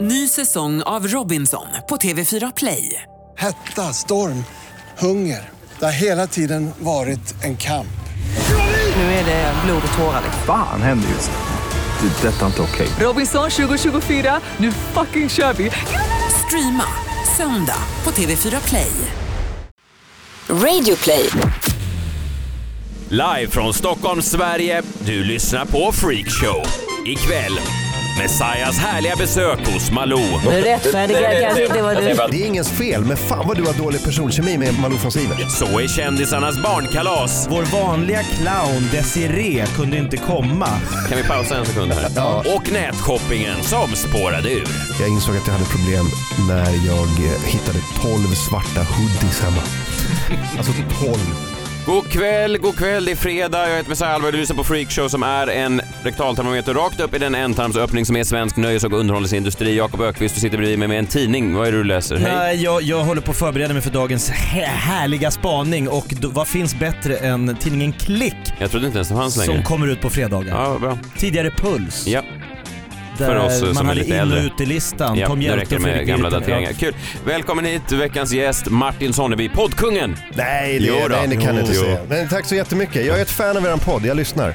Ny säsong av Robinson på TV4 Play. Hetta, storm, hunger. Det har hela tiden varit en kamp. Nu är det blod och tårar. Fan händer just nu. Det. är Detta är inte okej. Robinson 2024, nu fucking kör vi! Streama söndag på TV4 Play. Radio play. Live från Stockholm, Sverige. Du lyssnar på Freakshow. Ikväll. Messias härliga besök hos Malou. Rättfärdiga kanske inte var du. Det är ingens fel, men fan vad du har dålig personkemi med Malou von Sivert. Så är kändisarnas barnkalas. Vår vanliga clown Desiree kunde inte komma. Kan vi pausa en sekund här? Ja. Och nätshoppingen som spårade ur. Jag insåg att jag hade problem när jag eh, hittade 12 svarta hoodies hemma. Alltså 12. God kväll, god kväll, det är fredag. Jag heter Messiah Alvar och du lyssnar på Freakshow som är en rektaltermometer rakt upp i den ändtarmsöppning som är svensk nöjes och underhållningsindustri. Jakob Ökvist, du sitter bredvid mig med en tidning. Vad är det du läser? Hej. Nej, jag, jag håller på att förbereda mig för dagens hä- härliga spaning och då, vad finns bättre än tidningen Klick Jag trodde inte ens det fanns som längre. kommer ut på fredagar. Ja, bra. Tidigare Puls. Ja. Där för oss eh, som man är hade lite in och äldre. utelistan, Ja, Tom nu Hjälte räcker det och med Fredrik gamla Virtanen. dateringar. Kul! Välkommen hit, veckans gäst Martin Sonneby, poddkungen! Nej, det, Jo då. nej, det kan jag inte Jo. säga. Men tack så jättemycket. Jag är ett fan av eran podd, jag lyssnar.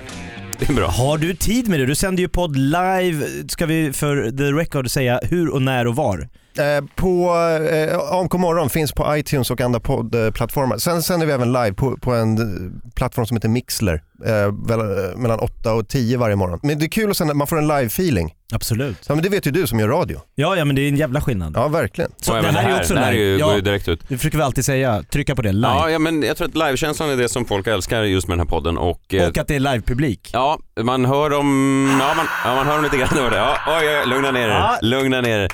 Det är bra. Ja. Har du tid med det? Du sänder ju podd live, ska vi för the record säga hur och när och var? Eh, på eh, AMK morgon finns på iTunes och andra poddplattformar. Sen sänder vi även live på, på en eh, plattform som heter Mixler. Eh, väl, eh, mellan 8 och 10 varje morgon. Men det är kul att sända, man får en live-feeling. Absolut. Ja, men det vet ju du som gör radio. Ja, ja men det är en jävla skillnad. Ja, verkligen. Så Och även det här, det här är ju, går ju direkt ut. Det försöker vi alltid säga, trycka på det live. Ja, ja, men jag tror att livekänslan är det som folk älskar just med den här podden och... eh, Och att det är livepublik. Ja, man hör om... Ja, man, ja, man hör om lite grann. Hör det. Ja, oj, oj, oj, lugna ner er. Ja. Lugna ner er.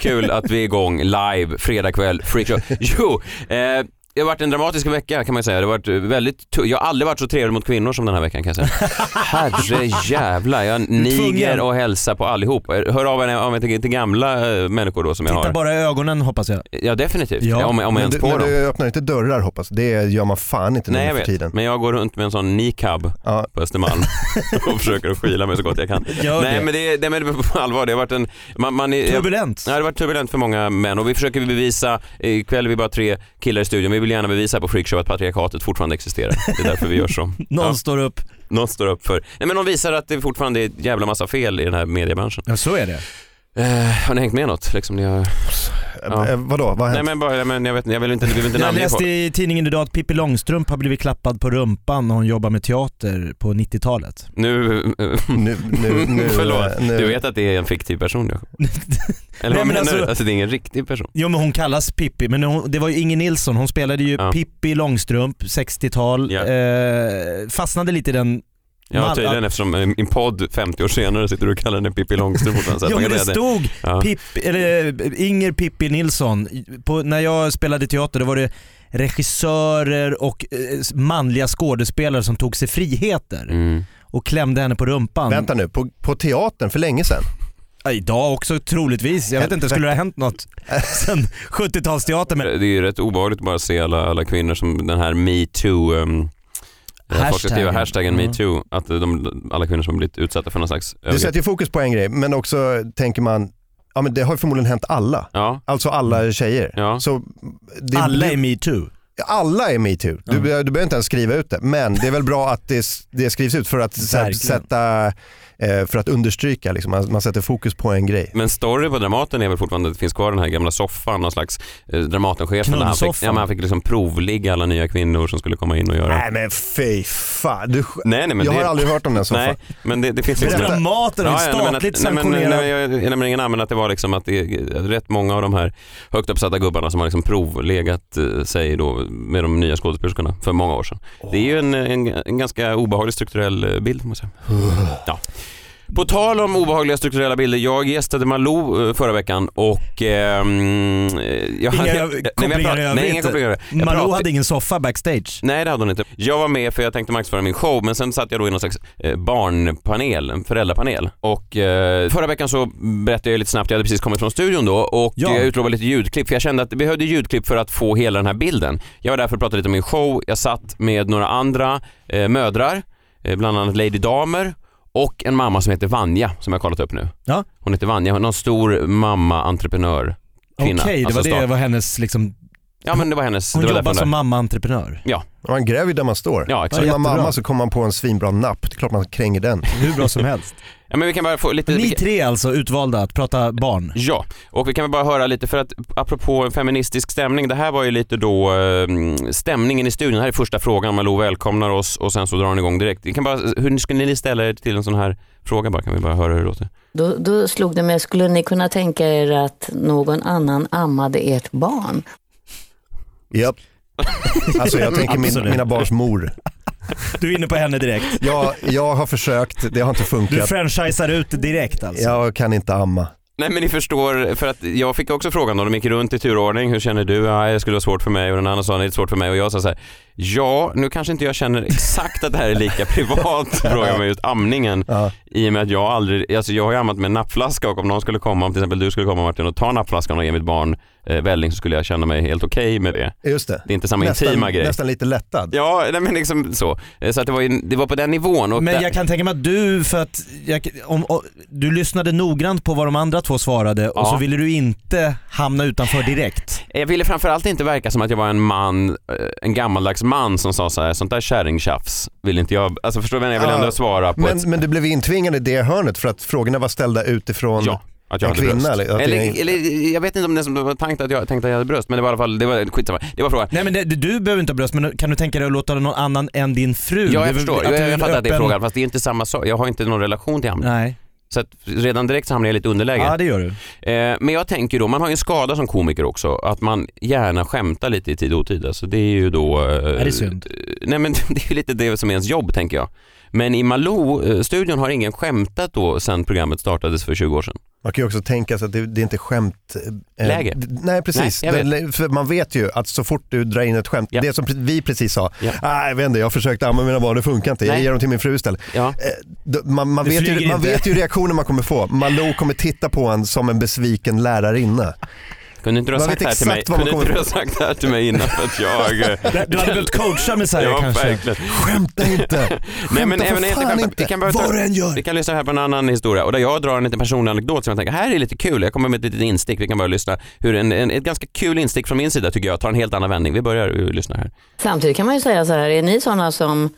Kul att vi är igång live fredag kväll, freakshow. Jo, eh, det har varit en dramatisk vecka kan man ju säga. Det har varit väldigt tu- jag har aldrig varit så trevlig mot kvinnor som den här veckan kan jag säga. Herre jävlar, jag niger Tvungen. och hälsar på allihop. Hör av er om jag tänker till gamla eh, människor då som jag Titta har. bara i ögonen hoppas jag. Ja definitivt, Ja, ja, om, om jag Men ens du, på men dem. du öppnar inte dörrar hoppas Det gör man fan inte Nej nu jag för vet, tiden. men jag går runt med en sån niqab Ja. på Östermalm och försöker att skyla mig så gott jag kan. Gör Nej det. men det, det, men det är på allvar, det har varit en... Man, man är, jag, Turbulent. Ja, det har varit turbulent för många män och vi försöker bevisa, ikväll är vi bara tre killar i studion, vi vill gärna bevisa på Freakshow att patriarkatet fortfarande existerar. Det är därför vi gör så. Någon Ja, står upp. någon står upp för, nej men de visar att det fortfarande är en jävla massa fel i den här mediebranschen. Ja så är det. Eh, har ni hängt med något? Liksom, ni har... Ja. Eh, vadå, vad har Nej hänt? men bara, nej, men jag vet inte, jag vill inte, vi vill inte Jag namnge läste folk. i tidningen idag att Pippi Långstrump har blivit klappad på rumpan när hon jobbar med teater på 90-talet. Nu, Nu, nu, nu, Förlåt, eh, nu. du vet att det är en fiktiv person Jakob? Eller vad men menar alltså- du? Alltså det är ingen riktig person. Jo men hon kallas Pippi, men hon, det var ju Inger Nilsson, hon spelade ju Ja. Pippi Långstrump, 60-tal, Ja. eh, fastnade lite i den Ja Mal- tydligen eftersom eh, i en podd 50 år senare sitter du och kallar henne Pippi Långstrump fortfarande. Jo Man men kan det säga att stod Ja. Pippi, eller, eh, Inger Pippi Nilsson, på, när jag spelade teater då var det regissörer och eh, manliga skådespelare som tog sig friheter Mm. och klämde henne på rumpan. Vänta nu, på, på teatern för länge sedan? Ja, Idag också troligtvis. Jag vet inte, skulle det ha hänt något sen 70-talsteater? Men Det är ju rätt obehagligt att bara se alla, alla kvinnor som den här metoo, um, folk ska Hashtaggen. skriva hashtaggen Ja. metoo, att eh, de, alla kvinnor som blivit utsatta för någon slags Du övergrepp. sätter ju fokus på en grej, men också tänker man, ja men det har ju förmodligen hänt alla. Ja, Alltså alla tjejer. Mm. Ja. Så det, alla är det, metoo. alla är metoo. Du, Mm. Ja. be- du behöver inte ens skriva ut det. Men det är väl bra att det, s- det skrivs ut för att, s- Verkligen. sätta, eh, för att understryka. Liksom. Man, man sätter fokus på en grej. men story på Dramaten är väl fortfarande att det finns kvar den här gamla soffan, någon slags eh, Dramatenchefen. där Han fick, Knullsoffan. ja, men han fick liksom provligga alla nya kvinnor som skulle komma in och göra... Nej men fy fan. Du, sk- Nej, nej men jag det, har aldrig hört om den soffan. Nej, men det, det finns ju Berätta. Dramaten är nej, men att- statligt nej, men- nej, sanktionerad. nej, Jag jag nämner ingen namn, men att det var liksom att det är rätt många av de här högt uppsatta gubbarna som har liksom provlegat eh, sig då med de nya skådespelerskorna för många år sedan. Det är ju en, en, en ganska obehaglig strukturell eh, bild får man säga. Ja. På tal om obehagliga strukturella bilder, jag gästade Malou eh, förra veckan och... ehm, eh, jag, Inga jag- nej, men jag kopplingar prat- i Nej, övrigt. inga kopplingar i övrigt. Jag Malou pratade- hade ingen soffa backstage. Nej det hade hon inte. Jag var med för jag tänkte marknadsföra min show men sen satt jag då i någon slags eh, barnpanel, en föräldrapanel. Och eh, förra veckan så berättade jag lite snabbt, jag hade precis kommit från studion då och Ja. jag utlovade lite ljudklipp för jag kände att det behövde ljudklipp för att få hela den här bilden. Jag var där för att prata lite om min show, jag satt med några andra eh, mödrar, eh, bland annat Lady Damer Och en mamma som heter Vanja som jag har kollat upp nu. Ja. Hon heter Vanja, någon stor mamma-entreprenör. Okej, Kvinna, det alltså var det start. var hennes liksom, Ja men det var hennes, hon det var jobbar därför som hon där. mamma-entreprenör. Man gräver ju där man står. Ja exakt. Så är man jättebra. mamma så kommer man på en svinbra napp, det är klart man kränger den. Hur bra som helst. Ja men vi kan bara få lite... Ni tre alltså utvalda att prata barn. Ja, och vi kan väl bara höra lite för att apropå feministisk stämning, det här var ju lite då eh, stämningen i studion. Det här är första frågan, Malou välkomnar oss och sen så drar hon igång direkt. Vi kan bara, hur skulle ni ställa er till en sån här fråga bara? Kan vi bara höra hur det låter? Då, då slog det mig, skulle ni kunna tänka er att någon annan ammade ert barn? Japp. Alltså jag tänker min, Absolut. mina barns mor. Du är inne på henne direkt. Jag, jag har försökt, det har inte Du funkat. franchisar ut direkt alltså. Jag kan inte amma. Nej men ni förstår, för att jag fick också frågan då, de gick runt i turordning, hur känner du? Ja, det skulle vara svårt för mig och den andra sa, det är svårt för mig och jag sa så här, ja, nu kanske inte jag känner exakt att det här är lika privat, frågan med just amningen, Ja. i och med att jag aldrig, alltså jag har ju ammat med en nappflaska och om någon skulle komma, om till exempel du skulle komma Martin och ta nappflaskan och ge mitt barn eh, välling så skulle jag känna mig helt okej med det. Just det. Det är inte samma intima grej. nästan lite lättad. Ja, nej, men liksom så. Eh, Så att det var, ju- det var på den nivån. Och där- Men jag kan tänka mig att du, för att jag, om, om, du lyssnade noggrant på vad de andra två svarade och Ja. så ville du inte hamna utanför direkt. Jag ville framförallt inte verka som att jag var en man, eh, en gammaldags man som sa så här, sånt där kärringtjafs vill inte jag, alltså förstår du vad jag menar? Jag vill Ja, ändå svara på Men, ett, men du blev intvingad i det hörnet för att frågorna var ställda utifrån ja, att jag en hade kvinna, bröst. eller- att det Eller, är- eller jag vet inte om det som var tankt att jag tänkte att jag hade bröst, men det var i alla fall, det var skitsamma. Det var frågan. Nej men det, du behöver inte ha bröst men kan du tänka dig att låta någon annan än din fru? Ja, Det är jag väl- förstår. du Jag, är jag fattar att det är öppen- frågan, fast det är inte samma sak. Jag har inte någon relation till hamnen. Nej, Så att redan direkt så hamnar jag i lite underläge. ja det gör du. Eh, men jag tänker då, man har ju en skada som komiker också, att man gärna skämtar lite i tid och otid. Alltså det är ju då... Eh, Är det synd? Nej men det är ju lite det som är ens jobb tänker jag. Men i Malou-studion har ingen skämtat då sen programmet startades för 20 år sedan. Man kan ju också tänka sig att det, det är inte skämt... eh, Läge. d- Nej precis, Nej, jag vet. Den- för man vet ju att så fort du drar in ett skämt, Ja. det som pre- vi precis sa, Ja. nej jag vet inte, jag försökte amma mina barn, det funkar inte, jag Nej. ger dem till min fru istället. Ja. Eh, d- Man, man, Det vet ju, flyger man inte. vet ju reaktionen man kommer få. Malou kommer titta på en som en besviken lärarinna. Kunde inte du ha Man sagt vet det här till mig? exakt vad man Kunde inte kommer- du ha sagt det här till mig innan för att jag... eh, Du hade behövt coacha Messiah ja, kanske. verkligen. Skämta inte! Skämta Nej men även för inte fan skämta. inte! Vi kan, bara ta, Vad du än gör! vi kan lyssna här på en annan historia och där jag drar en liten personlig anekdot som jag tänker, här är lite kul, jag kommer med ett litet instick, vi kan börja lyssna. Hur en, en, ett ganska kul instick från min sida tycker jag, tar en helt annan vändning. Vi börjar och lyssnar här. Samtidigt kan man ju säga så här, är ni sådana som,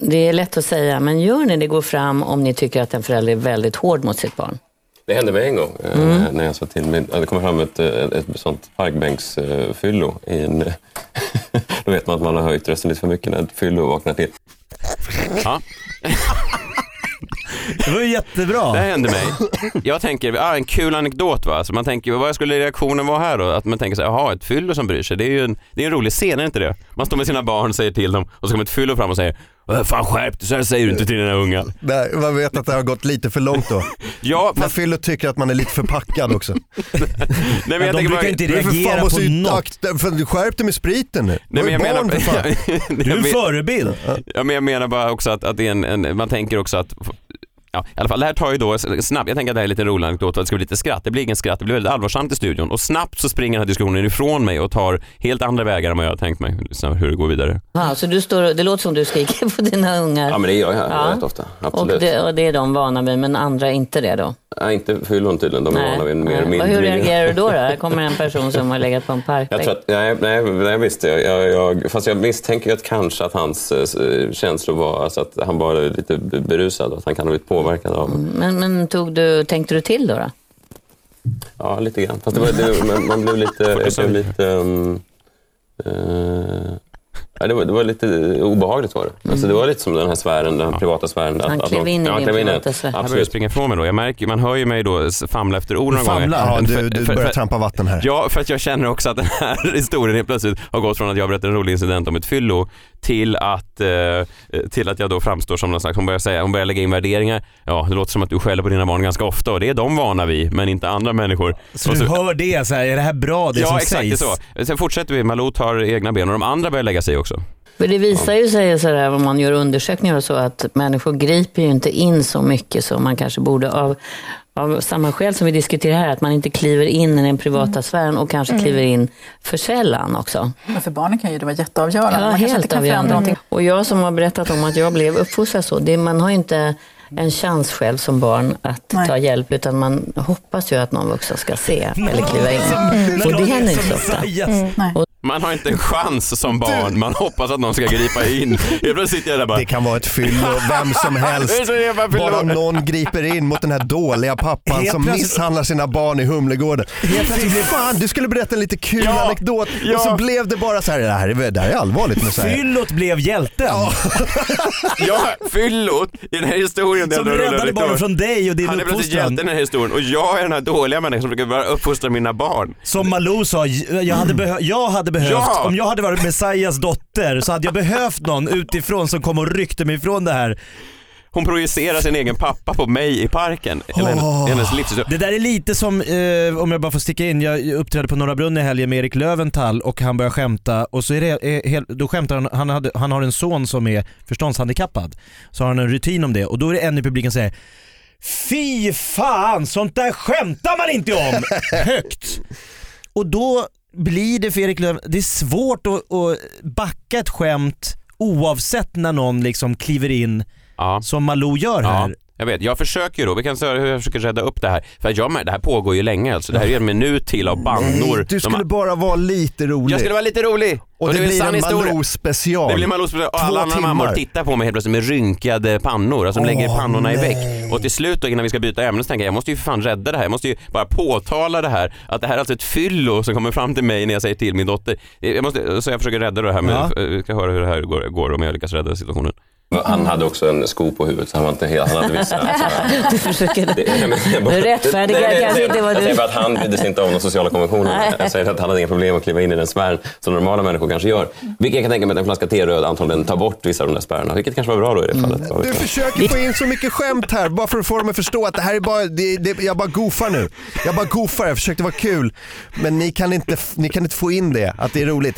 det är lätt att säga, men gör ni det går fram om ni tycker att en förälder är väldigt hård mot sitt barn? Det hände mig en gång eh, Mm. när jag sa till min, ja, det kom fram ett, eh, ett, ett sånt parkbänksfyllo. i en- Då vet man att man har höjt rösten lite för mycket när ett fyllo vaknar till. Ja. Det var ju jättebra. Det här hände mig. Jag tänker, ah, en kul anekdot va. Så man tänker, vad skulle reaktionen vara här då? Att man tänker så här, jaha ett fyllo som bryr sig. Det är ju en, det är en rolig scen, är det inte det? Man står med sina barn, säger till dem och så kommer ett fyllo fram och säger, "Äh, fan skärp dig, så här säger du inte till dina unga. Nej, man vet att det har gått lite för långt då. Ja, När fast, Fyllo tycker att man är lite förpackad också. nej, men jag Men tänker de brukar bara, inte Du är för fan reagera på måste ju något. akta- för du Skärp dig med spriten nu. Nej, men jag menar, barn, för fan. Du är en jag, men- förebild. ja, men jag menar bara också att, att det är en, en, man tänker också att Ja, i alla fall, det här tar ju då snabbt, jag tänker att det här är lite rolig anekdot och att det ska bli lite skratt. Det blir ingen skratt, det blir väldigt allvarsamt i studion och snabbt så springer den här diskussionen ifrån mig och tar helt andra vägar än vad jag har tänkt mig. Lyssna hur det går vidare. Ja, så du står, och- det låter som du skriker på dina ungar. Ja, men det gör jag Ja. rätt ofta. och, Absolut. det, och det är de vana vid, men andra är inte det då? Nej, inte fyllon tydligen, de är vana vid en mer Nej. mild Och hur miljö. reagerar du då? då? Här kommer en person som har legat på en Jag parkbänk. tror att, nej, nej, nej visst. Jag, jag, jag, fast jag misstänker ju att kanske att hans eh, känslor var alltså att han bara är lite b- berusad och att han kan ha blivit påverkad av Men, men tog du, tänkte du till då? då? Ja, lite grann. Fast det var, det, man, man blev lite... Jag blev lite ehm, eh, ja, det, var, det var lite obehagligt var det. Alltså, det var lite som den här sfären, den här privata sfären. Mm. Han klev in i ja, han din klev in i privata den. sfär. Jag börjar Absolut. springa ifrån mig då. Jag märker, man hör ju mig då s- famla efter ord några gånger. Famla? Ja, För- du, du för- börjar för- trampa vatten här. Ja, för att jag känner också att den här historien helt plötsligt har gått från att jag berättar en rolig incident om ett fyllo till att, eh, till att jag då framstår som någon slags, hon börjar, säga, hon börjar lägga in värderingar. Ja, det låter som att du skäller på dina barn ganska ofta och det är de vana vid, men inte andra människor. Så Och du hör det, så här, är det här bra det ja, som exakt, sägs? det är så. Sen fortsätter vi, Malou tar egna ben och de andra börjar lägga sig också. För det visar ju sig sådär, om man gör undersökningar och så, att människor griper ju inte in så mycket som man kanske borde av, av samma skäl som vi diskuterar här, att man inte kliver in i den privata Mm. sfären och kanske kliver in för sällan också. Men för barnen kan ju det vara jätteavgörande. Ja, Man kanske inte helt kan förändra avgörande. någonting. Och jag som har berättat om att jag blev uppfostrad så, det, man har ju inte en chans själv som barn att Nej. ta hjälp, utan man hoppas ju att någon vuxen ska se eller kliva in. Mm. Och det händer inte så ofta. Mm, nej. Man har inte en chans som barn. Man hoppas att någon ska gripa in. Helt plötsligt sitter jag där bara. Det kan vara ett fyllo, vem som Det är helst. så jävla Bara förlåt. någon griper in mot den här dåliga pappan Helt som plötsligt- misshandlar sina barn i Humlegården. Helt plötsligt blev fan, du skulle berätta en lite kul Ja, anekdot ja. och så blev det bara så här, det här är, det här är allvarligt nu. Så här. Fyllot blev hjälten Alltså, Ja, fyllot i den här historien. där som jag rullar räddade lite barnen över. från dig och din Han är plötsligt hjälten i uppfostran. den här historien och jag är den här dåliga människan som försöker uppfostra mina barn. Som Malou sa, jag hade, behö- jag hade behövt, Ja! om jag hade varit Messias dotter så hade jag behövt någon utifrån som kom och ryckte mig från det här. Hon projicerar sin egen pappa på mig i parken. Hela hennes, Åh. hennes livshistoria. Det där är lite som, eh, om jag bara får sticka in, jag uppträdde på Norra Brunn i helgen med Erik Löventhal och han börjar skämta och så är det, är, hel- då skämtar han, han, hade, han har en son som är förståndshandikappad. Så har han en rutin om det och då är det en i publiken som säger Fy fan, sånt där skämtar man inte om! Högt. Och då blir det för Erik Löventhal, det är svårt att, att backa ett skämt oavsett när någon liksom kliver in Ja. som Malou gör här. Ja, jag vet. Jag försöker ju då, vi kan se hur jag försöker rädda upp det här. För att jag, mär- det här pågår ju länge alltså. Det här är ju en minut till av bannor. Nej, du som- skulle bara vara lite rolig. jag skulle vara lite rolig. och, det, är blir sann en historia. Malou special. Det blir Malous och Två alla andra mammor timmar. tittar på mig helt plötsligt med rynkade pannor, alltså de lägger Åh, pannorna i nej. väck. Och till slut då innan vi ska byta ämne så tänker jag, jag måste ju för fan rädda det här, jag måste ju bara påtala det här, att det här är alltså ett fyllo som kommer fram till mig när jag säger till min dotter. Jag måste, så jag försöker rädda det här, men Ja. eh, vi ska höra hur det här går, går om jag lyckas rädda situationen. Han hade också en sko på huvudet så han var inte helt, han hade vissa... Du försöker Du rättfärdigar kanske inte vad Jag du- säger bara att han brydde sig inte om de sociala konventionerna. Jag säger att han hade inga problem att kliva in i den spärren som normala människor kanske gör. Vilket jag kan tänka mig att en flaska te-röd antagligen tar bort vissa av de där spärrarna. Vilket kanske var bra då i Mm. det fallet. Du försöker få in så mycket skämt här bara för att få dem att förstå att det här är bara, det, det, jag bara goofar nu. Jag bara goofar, jag försökte vara kul. Men ni kan, inte, ni kan inte få in det, att det är roligt.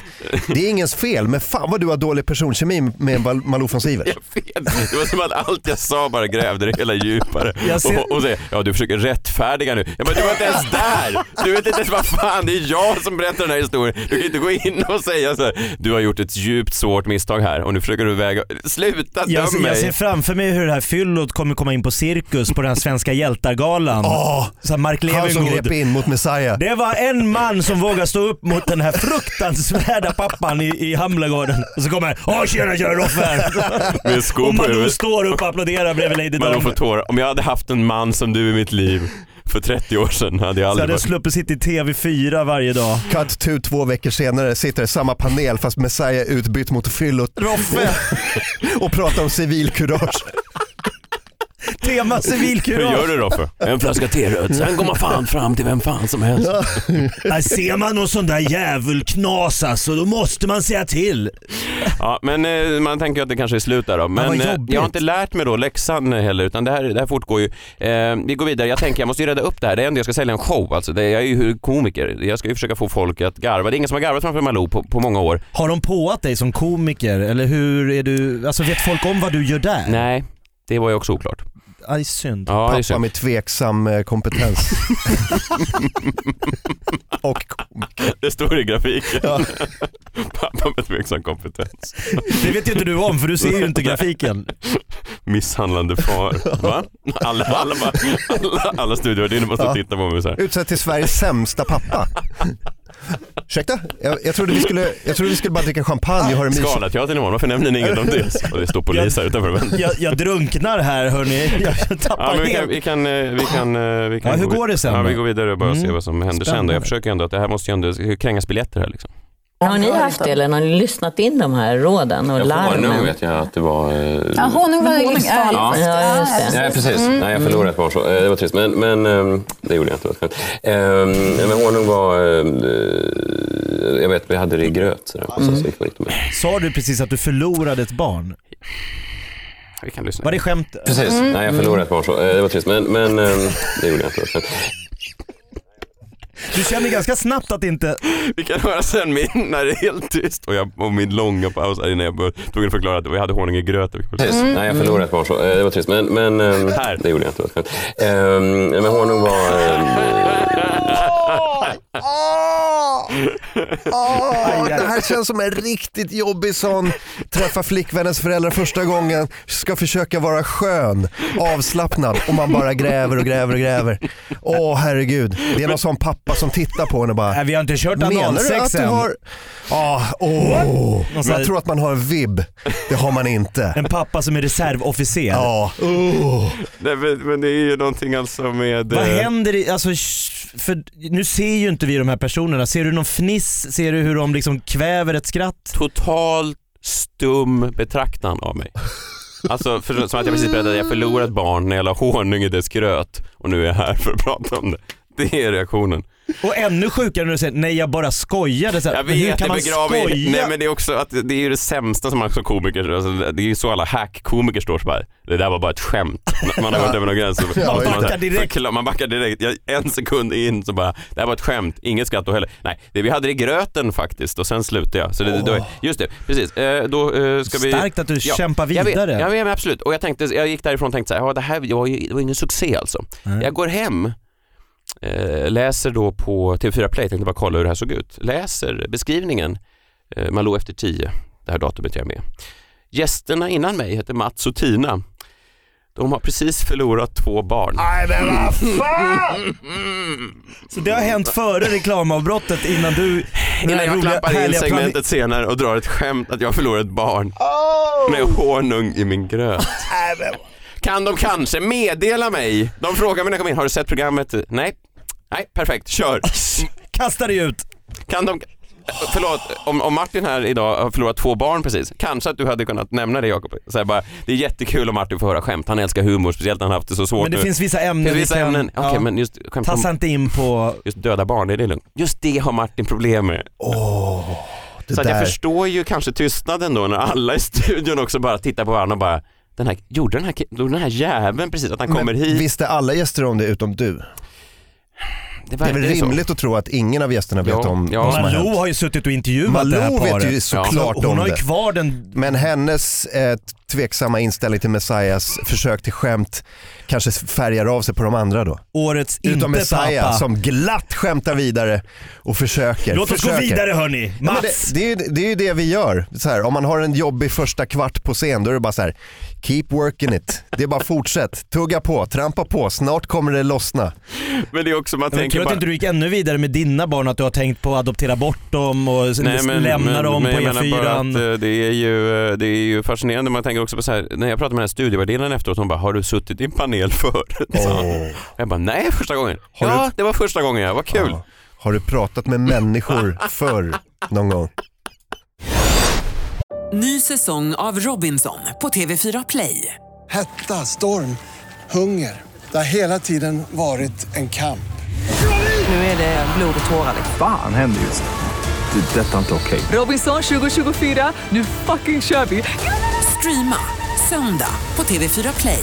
Det är ingens fel, men fan vad du har dålig personkemi med Mal- Malou von Sivers. Jag vet. Det var som att allt jag sa bara grävde det hela djupare. Jag ser- Och, och säger, ja du försöker rättfärdiga nu. Ja, men du var inte ens där! Du vet inte ens vad fan, det är jag som berättar den här historien. Du kan inte gå in och säga så här, du har gjort ett djupt svårt misstag här och nu försöker du väga... Sluta döm Jag ser, jag mig! ser framför mig hur det här fyllot kommer komma in på cirkus på den här svenska hjältargalan. Åh, Så här Mark han som grep Levengood. in mot Messiah. Det var en man som vågade stå upp mot den här fruktansvärda pappan i, i Hamlagården. Och så kommer han. Åh tjena tjena Roffe! Med sko Och på Malou huvudet. står upp och applåderar bredvid Lady Man Dom. får tårar. Om jag hade haft en man som du i mitt liv för 30 år sedan hade jag Så aldrig hade jag varit... sluppit sitta i TV4 varje dag. Cut to två veckor senare sitter det samma panel fast Messiah utbytt mot fyllot Roffe! och pratar om civilkurage. Tema Hur civilkurage. gör du då för? En flaska te-röd, sen går man fan fram till vem fan som helst. Här ser man någon sån där djävulknas alltså, då måste man säga till. Ja, men eh, man tänker ju att det kanske är slut där då. Men vad eh, jobbigt. jag har inte lärt mig då läxan heller utan det här, det här fortgår ju. Eh, vi går vidare, jag tänker jag måste ju rädda upp det här. Det är ändå jag ska sälja en show alltså. Det, jag är ju komiker. Jag ska ju försöka få folk att garva. Det är ingen som har garvat framför Malou på, på många år. Har de påat dig som komiker? Eller hur är du, alltså vet folk om vad du gör där? Nej, det var ju också oklart. Aj, synd. Ja, det är Pappa synd. med tveksam eh, kompetens. och komiker. Det står i grafiken. Ja. Pappa med tveksam kompetens. Det vet ju inte du om för du ser ju inte grafiken. Misshandlande far. Va? Alla, alla, bara- alla, alla studievärdinor måste Ja. titta på mig så här. Utsedd till Sveriges sämsta pappa. Ursäkta? Jag, jag, trodde vi skulle, jag trodde vi skulle bara dricka champagne och ha det mysigt. Scalateatern imorgon, varför nämner ni inget om det? Och det står polis här utanför. Men... Jag, jag drunknar här hörni. Jag Ja, tappar men vi kan, helt. vi kan, eh, vi kan, eh, vi kan Ja, hur vid- går det sen Ja, då? vi går vidare och bara Mm. ser vad som händer sen. Då. Spännande. Jag försöker ändå att det här måste ju ändå det ska ju krängas biljetter här liksom. Har ni haft det eller har ni lyssnat in de här råden och larmen? vet jag att det var... eh, Ja, honung var ju liksom... Ja. Ja, just det. Nej, precis. Nej, jag förlorade ett barn. Så. eh, Det var trist. Men, men ehm, det gjorde jag inte. Det var ett skämt. Ehm, Men honung var... ehm, eh, Jag vet, vi hade det i gröt. Så där. Och sen så gick man inte med. Sa du precis att du förlorade ett barn? Vi kan lyssna. Var det skämt? Precis. Nej, jag förlorade ett barn. Så. eh, Det var trist. Men, men ehm, det gjorde jag inte. Det var ett skämt. Du känner ganska snabbt att det inte... Vi kan höra sen min, när det är helt tyst och, jag, och min långa paus här innan jag började, tog en förklara att vi hade honung i gröt. Precis. Mm. Nej, jag förlorade ett barn. Så. eh, Det var trist. Men, men ehm, Här. det gjorde jag inte. Det var ett skämt. Ehm, Men honung var... ehm, eh, Åh, det här känns som en riktigt jobbig sån, träffa flickvännens föräldrar första gången, ska försöka vara skön, avslappnad och man bara gräver och gräver och gräver. Åh herregud, det är någon sån pappa som tittar på en och bara Nej, vi har inte kört Menar du att analsex du än. har... Ja, åh. Någon Men sån här- jag tror att man har en vibb. Det har man inte. En pappa som är reservofficer. Ja, Nej, men, men det är ju någonting alltså med... Vad eh, händer i, alltså, sh- för nu ser ju inte vi de här personerna. Ser du någon fniss? Ser du hur de liksom kväver ett skratt? Totalt stum betraktan av mig. Alltså för, som att jag precis berättade, jag förlorade ett barn när jag la honung i dess gröt och nu är jag här för att prata om det. Det är reaktionen. Och ännu sjukare när du säger nej jag bara skojade. Så här, Jag men hur vet, det kan man begraver skoja? Nej men det är också att det är ju det sämsta som man som komiker, alltså, det är ju så alla hack-komiker står så bara, det där var bara ett skämt. Man har gått över någon gräns. och- Man och så- backar direkt. förkla- Man backar direkt. Jag, en sekund in så bara, det här var ett skämt, inget skratt då heller. Nej, det, vi hade det i gröten faktiskt och sen slutade jag. Så det, då, just det, precis. Eh, då eh, ska vi... Starkt att du Ja, kämpar Jag vet, vidare. ja, men absolut. Och jag, tänkte, jag gick därifrån och tänkte så här, ja, det här var ju, det var ingen succé alltså. Nej. Jag går hem, eh, läser då på TV4 Play, tänkte bara kolla hur det här såg ut. Läser beskrivningen, eh, Malou efter tio, det här datumet jag är med. Gästerna innan mig heter Mats och Tina. De har precis förlorat två barn. Så det har hänt före reklamavbrottet innan du... den Innan här jag roliga, klampar in härliga segmentet senare och drar ett skämt att jag förlorar ett barn Oh! med honung i min gröt. kan de kanske meddela mig? De frågar mig när jag kom in, har du sett programmet? Nej. Nej, perfekt, kör. plan- Kastar dig ut. Kan de... Förlåt, om, om Martin här idag har förlorat två barn precis, kanske att du hade kunnat nämna det Jakob. Så här bara, det är jättekul om Martin får höra skämt, han älskar humor, speciellt när han har haft det så svårt Men det nu. finns vissa ämnen Det finns vi vissa kan- ämnen, okej ja. men just skämt om Tassa inte in på... just döda barn, är det lugnt? Just det har Martin problem med. det Så att jag där. förstår ju kanske tystnaden då när alla i studion också bara tittar på varandra och bara den här, gjorde den här, ki- gjorde den här jäveln precis att han kommer Men hit? Visste alla gäster om det utom du? Det är väl verkar ju så. rimligt att tro att ingen av gästerna vet Ja, om ja. vad som har Malou hänt. har ju suttit och intervjuat det här Malou paret. vet ju Ja, såklart och hon om har ju det. kvar den... Men hennes eh, tveksamma inställning till Messias försök till skämt kanske färgar av sig på de andra då. Årets inte Utom Messiah pappa. som glatt skämtar vidare och försöker. Låt oss gå försöker. vidare hörni. Nej, men Mats! Det, det, är ju, det är ju det vi gör. Så här, om man har en jobbig första kvart på scen då är det bara så här, keep working it. Det är bara fortsätt, tugga på, trampa på, snart kommer det lossna. Men det är också, man Men tänker kul att bara, inte du gick ännu vidare med dina barn, att du har tänkt på att adoptera bort dem och s- lämna dem på E jag menar E bara att, E4. eh, det, är ju, eh, det är ju fascinerande, man tänker också på så här, när jag pratade med den här studievärdinnan efteråt, hon bara, har du suttit i en panel förut? Oh. Jag bara, nej första gången. Har ja, det var första gången ja, vad kul. Ja. Har du pratat med människor förr någon gång? Ny säsong av Robinson på TV4 Play. Hetta, storm, hunger. Det har hela tiden varit en kamp. Nu är det blod och tårar. liksom. Fan händer just det. Det är detta inte okej. Robinson 2024, nu fucking kör vi! Streama söndag på TV4 Play.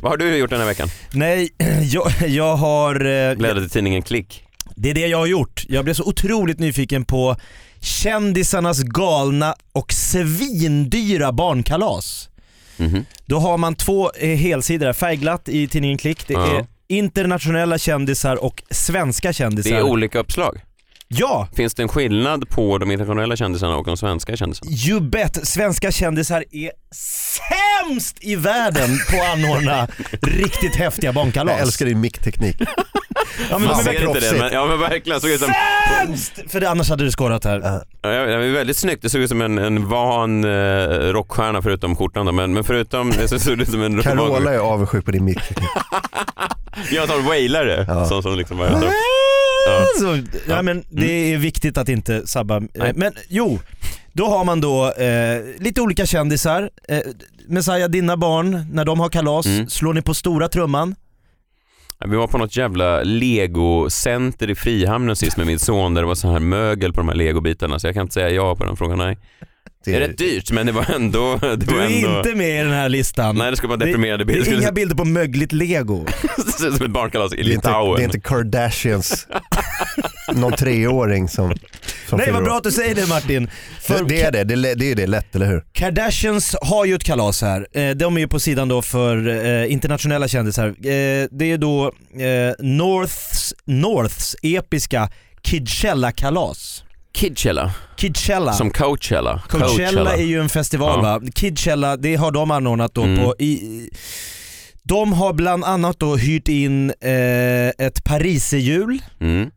Vad har du gjort den här veckan? Nej, jag, jag har... eh, Bläddrat i tidningen Klick. Det är det jag har gjort. Jag blev så otroligt nyfiken på kändisarnas galna och svindyra barnkalas. Mhm. Då har man två eh, helsidor, här, färgglatt i tidningen Klick. Det Ja. är internationella kändisar och svenska kändisar. Det är olika uppslag. ja, Finns det en skillnad på de internationella kändisarna och de svenska kändisarna? you bet. Svenska kändisar är sämst i världen på att anordna riktigt häftiga barnkalas. Jag älskar din mickteknik. ja, men, Fan, men, vad ser inte det, proffsigt. men, ja men verkligen. Såg ut som, sämst! För det, annars hade du skårat här. ja, ja, det var väldigt snyggt, det såg ut som en, en van eh, rockstjärna förutom skjortan då, men, men förutom så såg det ut som en Carola är avundsjuk på din mickteknik. Jag tar wailare, Ja. sån som liksom bara, Så, ja, men det är viktigt att inte sabba. eh, Nej. Men jo, då har man då eh, lite olika kändisar. Eh, Messiah, dina barn, när de har kalas, slår ni på stora trumman? Vi var på något jävla legocenter i Frihamnen sist med min son där det var så här mögel på de här legobitarna så jag kan inte säga ja på den frågan, nej. Det är rätt dyrt men det var ändå... Det Du var är ändå... inte med i den här listan. Nej det skulle vara deprimerande Det, bilder. det är skulle inga bilder på mögligt lego. se ut som ett barnkalas i Det är inte, Litauen. det är inte Kardashians, någon treåring som, som Nej fyller vad bra år. att du säger det Martin. För det, det är det, det, är lä- det är det lätt, eller hur? Kardashians har ju ett kalas här. Eh, De är ju på sidan då för eh, internationella kändisar. Eh, Det är då eh, Norths, Norths episka Kidchella-kalas. Kidchella. Kidchella. Som Coachella. Coachella är ju en festival Ja. va? Kidchella, det har de anordnat då Mm. på i, i- De har bland annat då hyrt in eh, ett pariserhjul Mm.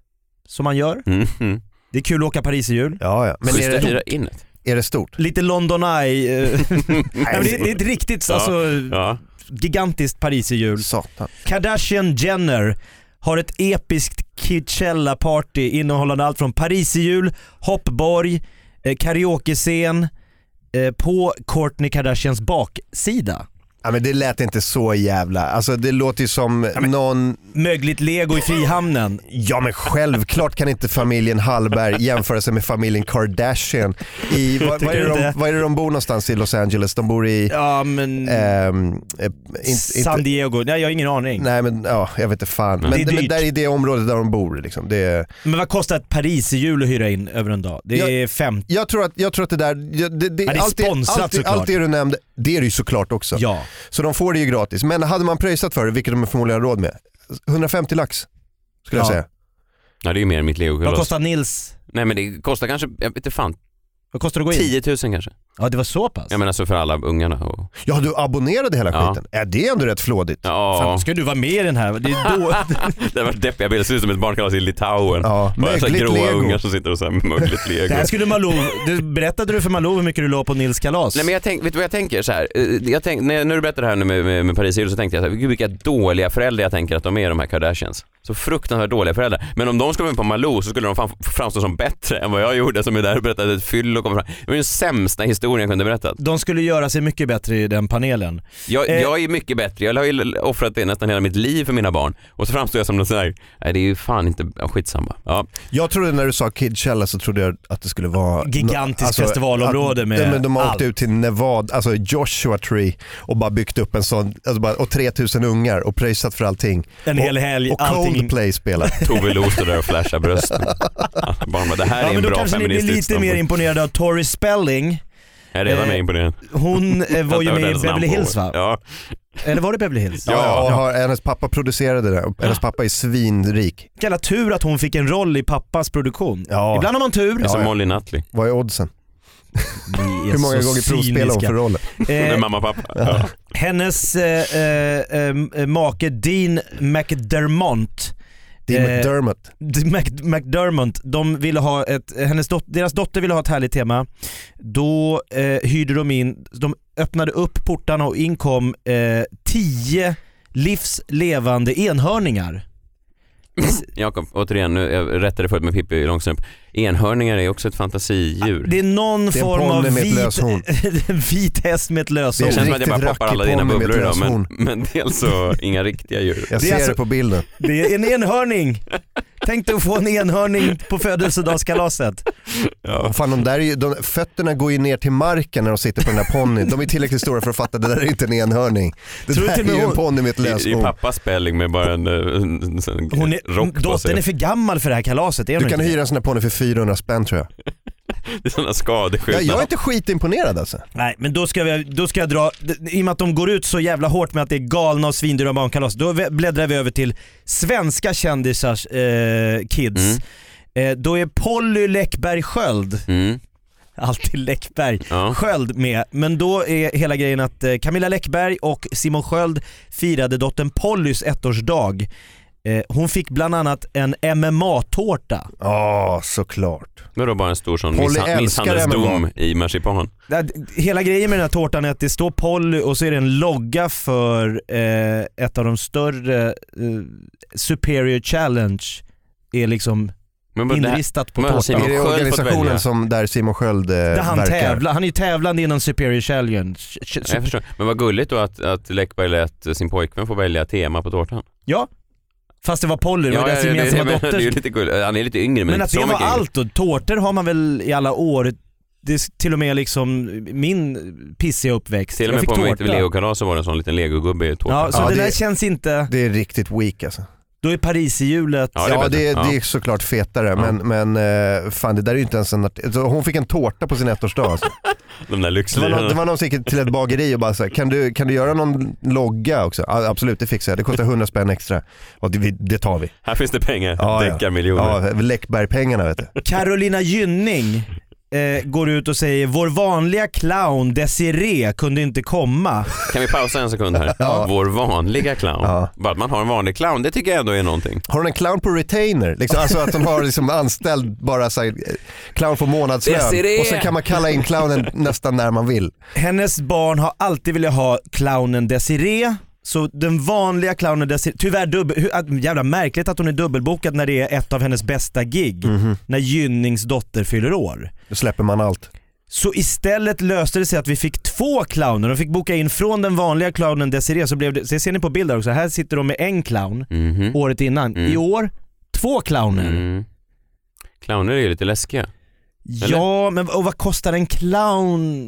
som man gör. Mm. Mm. Det är kul att åka pariserhjul. Ja, ja. Men Schysst är att hyra det, in ett. är det stort? Lite London Eye. eh. Nej, men det, det är ett riktigt Ja. alltså, Ja. gigantiskt pariserhjul. Satan. Kardashian Jenner har ett episkt Kidchella-party innehållande allt från pariserhjul, hoppborg, eh, karaokescen eh, på Kourtney Kardashians baksida. Ja, men det lät inte så jävla, alltså det låter ju som någon, Mögligt lego i Frihamnen. ja men självklart kan inte familjen Hallberg jämföra sig med familjen Kardashian. I, vad, vad, är Tycker det du de, inte? vad är det de bor någonstans i Los Angeles? De bor i, Ja men... ehm, eh, in, San inte, Diego, nej jag har ingen aning. nej men ja, jag vet inte fan. Men, Det är men dyrt. där i det området där de bor liksom. Det är, Men vad kostar ett pariserhjul att hyra in över en dag? Det Jag- är 50. jag tror att, jag tror att det där, det, det, Ja, det är allt, sponsrat allt, allt, såklart. det du nämnde, det är det ju såklart också. Ja. Så de får det ju gratis. Men hade man pröjsat för det, vilket de förmodligen har råd med, 150 lax skulle jag Ja. säga. Ja det är ju mer än mitt Vad legokalas. kostar Nils? Nej men det kostar kanske, jag vet inte fan, Vad kostar det att gå in? 10 000 kanske. Ja det var så pass? Jag menar så för alla ungarna och... Ja, du abonnerade hela Ja. skiten. Är det är ändå rätt flådigt. Ja, Fan, ska du vara med i den här? Det är då... det var deppiga bilder, ser ut som ett barnkalas i Litauen. Ja, Bara så här mögligt gråa lego. ungar som sitter och så här mögligt lego. Det här skulle Malou, du, berättade du för Malou hur mycket du la på Nils kalas? Nej men jag tänk, vet du vad jag tänker så här? Eh, Jag tänk, när, jag- när du berättade det här nu med, med, med Paris Hills så tänkte jag så här, gud vilka dåliga föräldrar jag tänker att de är de här Kardashians. Så fruktansvärt dåliga föräldrar. Men om de skulle vara med på Malou så skulle de fan f- framstå som bättre än vad jag gjorde som är där och berättade ett fyll och kom fram. Det var ju den sämsta historien jag kunde berätta. De skulle göra sig mycket bättre i den panelen. Jag, Eh. jag är mycket bättre, jag har ju offrat det nästan hela mitt liv för mina barn och så framstår jag som någon sån här, nej det är ju fan inte, ja, skitsamma. Ja. Jag trodde när du sa Kidchella så trodde jag att det skulle vara... alltså, Gigantiskt festivalområde att, med Ja, men De har allt. åkt ut till Nevada, alltså Joshua Tree och bara byggt upp en sån, alltså bara, och 3000 ungar och pröjsat för allting. En och, hel helg, Och allting. Coldplay spelar. Tove Lo står där och flashar brösten. Alla Barn bara, det här Ja är men en då bra kanske ni blir feministisk lite mer ståndpunkt. imponerade av Tori Spelling. Jag är redan mer eh, imponerad. Hon eh, var ju Vänta, med i hennes namn Beverly på- Hills va? Ja. Eller var det Beverly Hills? Ja. och har, hennes pappa producerade det och hennes pappa är svinrik. Jävla tur att hon fick en roll i pappas produktion. Ja. Ibland har man tur. Det är som ja. Molly Nutley. Vad är oddsen? Ni är Hur många så gånger provspelar hon cyniska. för roller? Hon är Eh, mamma och pappa. Ja. hennes eh, eh, eh, make Dean McDermott Det Eh, är McDermott. Mac- McDermott, de ville ha ett, hennes dot, deras dotter ville ha ett härligt tema. Då eh, hyrde de in, de öppnade upp portarna och inkom eh, tio livs levande enhörningar. Jakob, återigen, nu jag rättade förut med Pippi Långstrump. Enhörningar är också ett fantasidjur. Det är någon Det är en form av ponny med ett löshorn. vit, en vit häst med ett det löshorn. Det känns är som att jag bara riktigt poppar alla rackig dina ponny med bubblor idag, ett men, löshorn. men dels så inga riktiga djur. Jag det är ser alltså- det på bilden. Det är en enhörning. Tänk dig att få en enhörning på födelsedagskalaset. Och Fan, de där är ju, de, fötterna går ju ner till marken när de sitter på den där ponnyn. De är tillräckligt stora för att fatta att det där är inte en enhörning. Det Tror du där till och är med ju en hon- ponny med ett Det är ju löshorn. pappas spelling med bara en, eh, en, en, sån Hon är, rock på sig. dottern är för gammal för det här kalaset, är hon Du kan inte? hyra en sån där ponny för 400 spänn tror jag. Det är sådana Ja, skadeskjutna. jag är inte skitimponerad alltså. Nej men då ska, vi, då ska jag dra, i och med att de går ut så jävla hårt med att det är galna och svindyra barnkalas, då vä- bläddrar vi över till svenska kändisars eh, kids. Eh, då är Polly Läckberg Sköld, Mm. alltid Läckberg, Ja. Sköld med. Men då är hela grejen att eh, Camilla Läckberg och Simon Sköld firade dottern Pollys ettårsdag. Eh, hon fick bland annat en MMA-tårta. Ja, såklart. Men då bara en stor sån Polly misshan- älskar misshandelsdom MMA. i marsipan. Ja, d- Hela grejen med den här tårtan är att det står Polly och så är det en logga för eh, ett av de större eh, Superior Challenge är liksom Men bara det här- inristat på men alltså, tårtan. Simon är det Sköld fått välja? organisationen som där Simon Sköld eh, Där han, verkar? tävlar, han är ju tävlande inom Superior Challenge. Ch- ch- Jag förstår. Men vad gulligt då att, att Läckberg lät sin pojkvän få välja tema på tårtan. Ja, Fast det var Polly, det var deras det- gemensamma men- dotter. Det är ju lite kul. Han är lite yngre men, Men inte att så det var mycket yngre. allt då. Tårtor har man väl i alla år. Det är till och med liksom min pissiga uppväxt. Till och jag med fick på mitt tårta. legokalas så var det en sån liten legogubbe i tårta. Ja, så det där känns inte... Det är riktigt weak alltså. Då är Paris i hjulet. Ja, det, är det, är såklart fetare men, men eh, fan det där är ju inte ens en art- alltså, Hon fick en tårta på sin ettårsdag. Alltså. De där Det var, någon, det var lyxlirarna. någon som gick till ett bageri och bara så här, kan du, kan du göra någon logga också? Ja, absolut, det fixar jag. Det kostar 100 spänn extra. Och det, vi- det tar vi. Här finns det pengar. Ja, ja. Deckarmiljoner. Ja, Läckberg-pengarna vet du. Carolina Gynning eh, går ut och säger vår vanliga clown Desiree kunde inte komma. Kan vi pausa en sekund här? Vår vanliga clown. Bara att man har en vanlig clown, det tycker jag ändå är någonting. Har hon en clown på retainer? Liksom, alltså att hon har liksom anställd bara så här, eh, clown för månadslön. Desiree! Och sen kan man kalla in clownen nästan när man vill. Hennes barn har alltid velat ha clownen Desiree. Så den vanliga clownen Desiree, tyvärr dubbel, hur, att- jävla märkligt att hon är dubbelbokad när det är ett av hennes bästa gig. Mm. Mhm. När Gynnings dotter fyller år. Då släpper man allt. Så istället löste det sig att vi fick två clowner. De fick boka in från den vanliga clownen Desiree, så blev det, så ser ni på bilder också, här sitter de med en Mm. clown året innan. I år, två clowner. Mm. Clowner är ju lite läskiga. Eller? Ja, men och vad kostar en clown?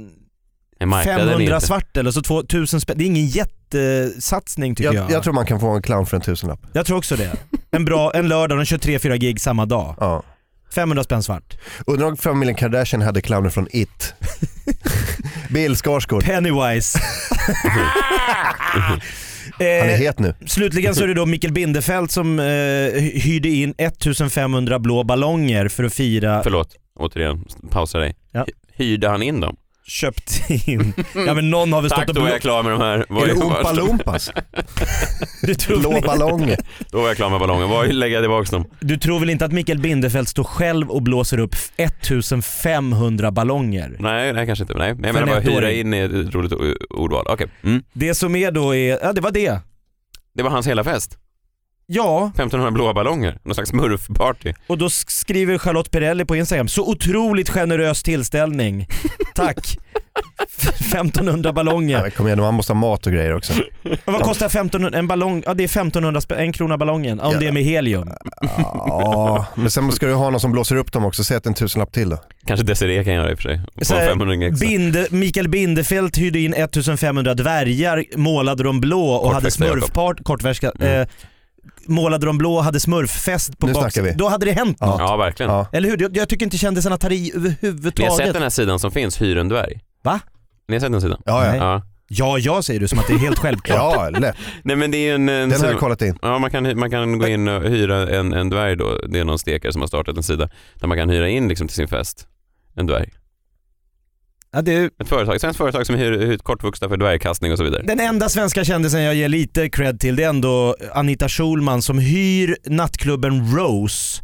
Nej, marknaden är 500 inte- svart eller så 2000 spänn. Det är ingen jättesatsning tycker Jag, jag. jag. tror man kan få en clown för en tusenlapp. Jag tror också det. En, bra, en lördag, de kör 3-4 gig samma dag. 500 spänn svart. Undrar om familjen Kardashian hade clowner från It. Bill Skarsgård. Pennywise. Eh, Han är het nu. Slutligen så är det då Mikael Bindefeld som eh, hyrde in 1500 blå ballonger för att fira... Förlåt, återigen, pausa dig. Ja. Hyrde han in dem? Köpt in. Ja men någon har väl Tack, stått och då är blå... jag klar med de här. Vad Är det vad- Oompa Loompas? Du tror Blå väl- ballonger. Då var jag klar med ballongen. Vad lägger jag tillbaka dem? Du tror väl inte att Mikael Bindefeld står själv och blåser upp 1500 ballonger? Nej, nej kanske inte. Nej. Men jag För menar en bara hyra ettåring. in är ett roligt o- ordval. Okej. Mm. Det som är då är, ja det var det. Det var hans hela fest. Ja, 1500 blåa ballonger. Någon slags smurfparty. och då sk- skriver Charlotte Perrelli på Instagram, så otroligt generös tillställning. Tack. 1500 ballonger. Nej, kom igen, man måste ha mat och grejer också. Och vad kostar 1500, en ballong? Ja det är 1500 spänn, en krona ballongen. Om det är med helium. Ja, men sen ska du ha någon som blåser upp dem också. Säg att det är en tusenlapp till då. Kanske Desiree kan göra i och för sig. På Så här, 500 extra. Binde, Mikael Bindefeld hyrde in 1500 dvärgar, målade dem blå och hade Kortväxta, Jakob. Mm. smurfpart, kortväxta, eh, målade dem blå och hade smurffest på Nu baks- snackar vi. Då hade det hänt något. Ja, verkligen. Ja. Eller hur? Jag, jag tycker inte kändisarna tar i Ni har sett överhuvudtaget. den här sidan som finns, Hyr en dvärg? Va? Ni har sett den sidan? Ja, ja. Nej. Ja, jag säger du som att det är helt självklart. Ja, lätt. Nej men det är ju en... en Den har jag sida- kollat in. Ja, man kan, hy- man kan gå in och hyra en, en dvärg då. Det är någon stekare som har startat en sida där man kan hyra in liksom till sin fest en dvärg. Ja, det är Ett företag, svenskt företag som hyr hyr ut kortvuxna för dvärgkastning och så vidare. den enda svenska kändisen jag ger lite cred till det är ändå Anita Schulman som hyr nattklubben Rose,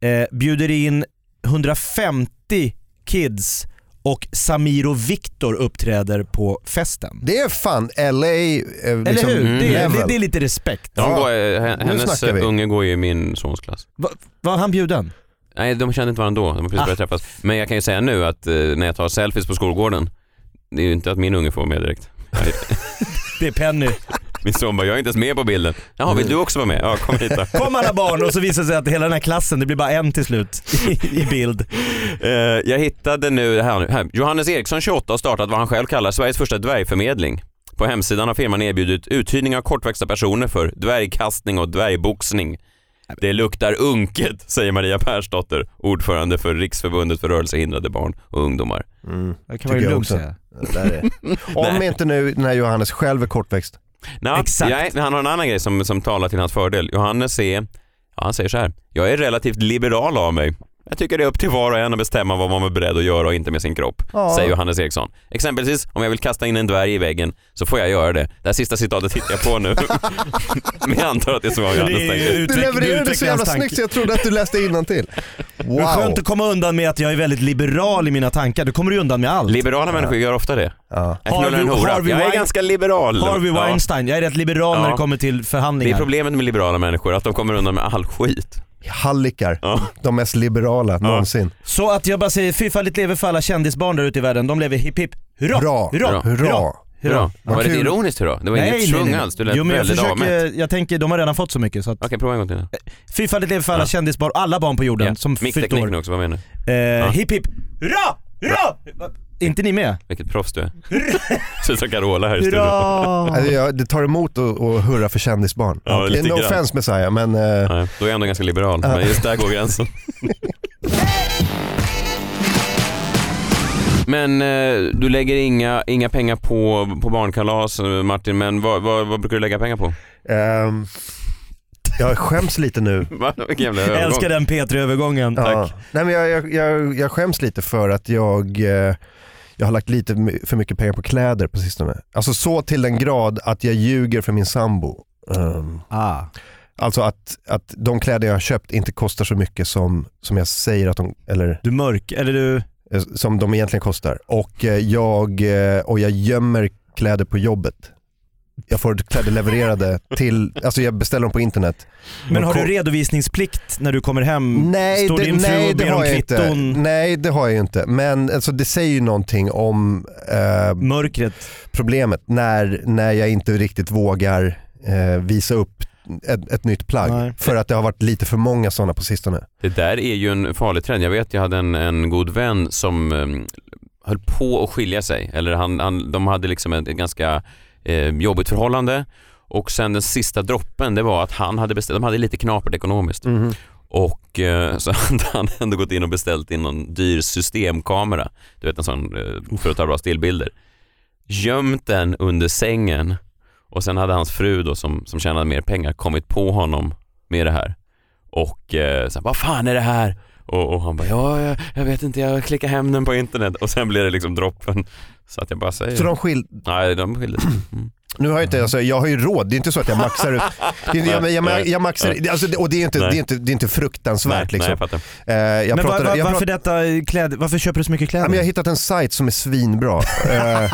eh, bjuder in 150 kids och Samir och Viktor uppträder på festen. Det är fan LA eh, liksom, Eller hur? Det, är- level. det, det är lite respekt. De Ja. går, eh, h- Nu hennes snackar vi. unge går ju i min sons klass. Va, var han bjuden? Nej, de kände inte varandra då. De har precis Ah. börjat träffas. Men jag kan ju säga nu att eh, när jag tar selfies på skolgården, det är ju inte att min unge får vara med direkt. Det är Penny. Min son bara, jag är inte ens med på bilden. Jaha, vill du också vara med? Ja, kom hit då. Kom alla barn och så visar det sig att hela den här klassen, det blir bara en till slut i, i bild. Eh, jag hittade nu, här, nu- här. Johannes Eriksson 28 har startat vad han själv kallar Sveriges första dvärgförmedling. På hemsidan har firman erbjudit uthyrning av kortväxta personer för dvärgkastning och dvärgboxning. Det luktar unket, säger Maria Persdotter, ordförande för Riksförbundet för rörelsehindrade barn och ungdomar. Mm. Det kan Tycker man ju jag lugnt också. säga. Det där är. Om inte nu när Johannes själv är kortväxt. Nå, Exakt. Nej, men han har en annan grej som, som talar till hans fördel. Johannes är, ja, han säger så här, jag är relativt liberal av mig. Jag tycker det är upp till var och en att bestämma vad man är beredd att göra och inte med sin kropp, Ja. säger Johannes Eriksson. Exempelvis om jag vill kasta in en dvärg i väggen så får jag göra det. Det här sista citatet hittar jag på nu. Men jag antar att det är så Johannes tänker. Du levererade det så jävla snyggt så jag trodde att du läste innantill. Det är Wow. skönt att komma undan med att jag är väldigt liberal i mina tankar, då kommer du undan med allt. Liberala människor gör ofta det. Ja. Jag Harvey- knullar en hora. Harvey Jag är Wein- ganska liberal. Harvey Ja. Weinstein, jag är rätt liberal Ja. när det kommer till Det är förhandlingar. problemet med liberala människor, att de kommer undan med all skit. Hallickar, Ja. de mest liberala någonsin. Så att jag bara säger, fy fallet lever för alla kändisbarn där ute i världen, de lever hipp hipp. Hurra! Bra, Hurra! hurra, Hurra. Vad Var det kul. ett ironiskt hurra? Det var Nej, inget nej, svung nej. alls, du lät jo, men jag, väldigt avmätt. försöker, jag tänker, de har redan fått så mycket så att... Okej, prova en gång till. Fy fan det lever för alla Ja. kändisbarn, alla barn på jorden Ja, som fyllt Micktekniken år. också, vad menar du? Eh, Ja. Hipp hipp, hurra! Hurra! Inte ni med? Vilket proffs du är. Ser ut som Carola här i studion. Hurra! Alltså, jag, det tar emot att att hurra för kändisbarn. Ja, Okej, lite no grann. offense Messiah, men... eh, Nej, Då är jag ändå ganska liberal, men just där går gränsen. Men eh, du lägger inga, inga pengar på, på barnkalas eh, Martin, men vad, vad, vad brukar du lägga pengar på? ehm, jag skäms lite nu. Va? Vilken jävla Jag övergång. älskar den P3-övergången. Ja. Nej, men jag, jag, jag, jag skäms lite för att jag, eh, jag har lagt lite my- för mycket pengar på kläder på sistone. Alltså så till den grad att jag ljuger för min sambo. Ehm, Ah. Alltså att, att de kläder jag har köpt inte kostar så mycket som, som jag säger att de, eller Du mörk, eller du... eh, som de egentligen kostar. Och eh, jag, eh, och jag gömmer kläder på jobbet. Jag får kläder levererade till, alltså jag beställer dem på internet. Men De har ko- du redovisningsplikt när du kommer hem? Nej, Står det, din fru nej, och det ber om har jag inte. kvitton? Nej, det har jag ju inte. Men alltså, det säger ju någonting om eh, Mörkret. problemet när, när jag inte riktigt vågar eh, visa upp ett, ett nytt plagg. Nej. För att det har varit lite för många sådana på sistone. Det där är ju en farlig trend. Jag vet, jag hade en, en god vän som eh, höll på att skilja sig. Eller han, han, de hade liksom ett, ett ganska eh, jobbigt förhållande. Och sen den sista droppen, det var att han hade beställt, de hade lite knapert ekonomiskt. Och eh, så hade han ändå gått in och beställt in någon dyr systemkamera. Du vet en sån eh, för att ta bra stillbilder. Gömt den under sängen och sen hade hans fru då som, som tjänade mer pengar kommit på honom med det här. Och eh, så här, vad fan är det här? Och, och han bara, ja jag, jag vet inte, jag klickar hem den på internet. Och sen blir det liksom droppen. Så att jag bara säger. Så de skil- Nej, de skilde sig. Mm. Nu har jag, inte, alltså, jag har ju råd, det är inte så att jag maxar ut. Det är, inte- jag, jag, jag, jag maxar, alltså, det- och det är ju inte, det är inte, det är inte Nej, fruktansvärt. nej, Liksom. jag fattar. Eh, jag men pratade- va, va, jag varför prat- detta kläd... Varför köper du så mycket Ja, kläder? men jag har hittat en sajt som är svinbra. Eh,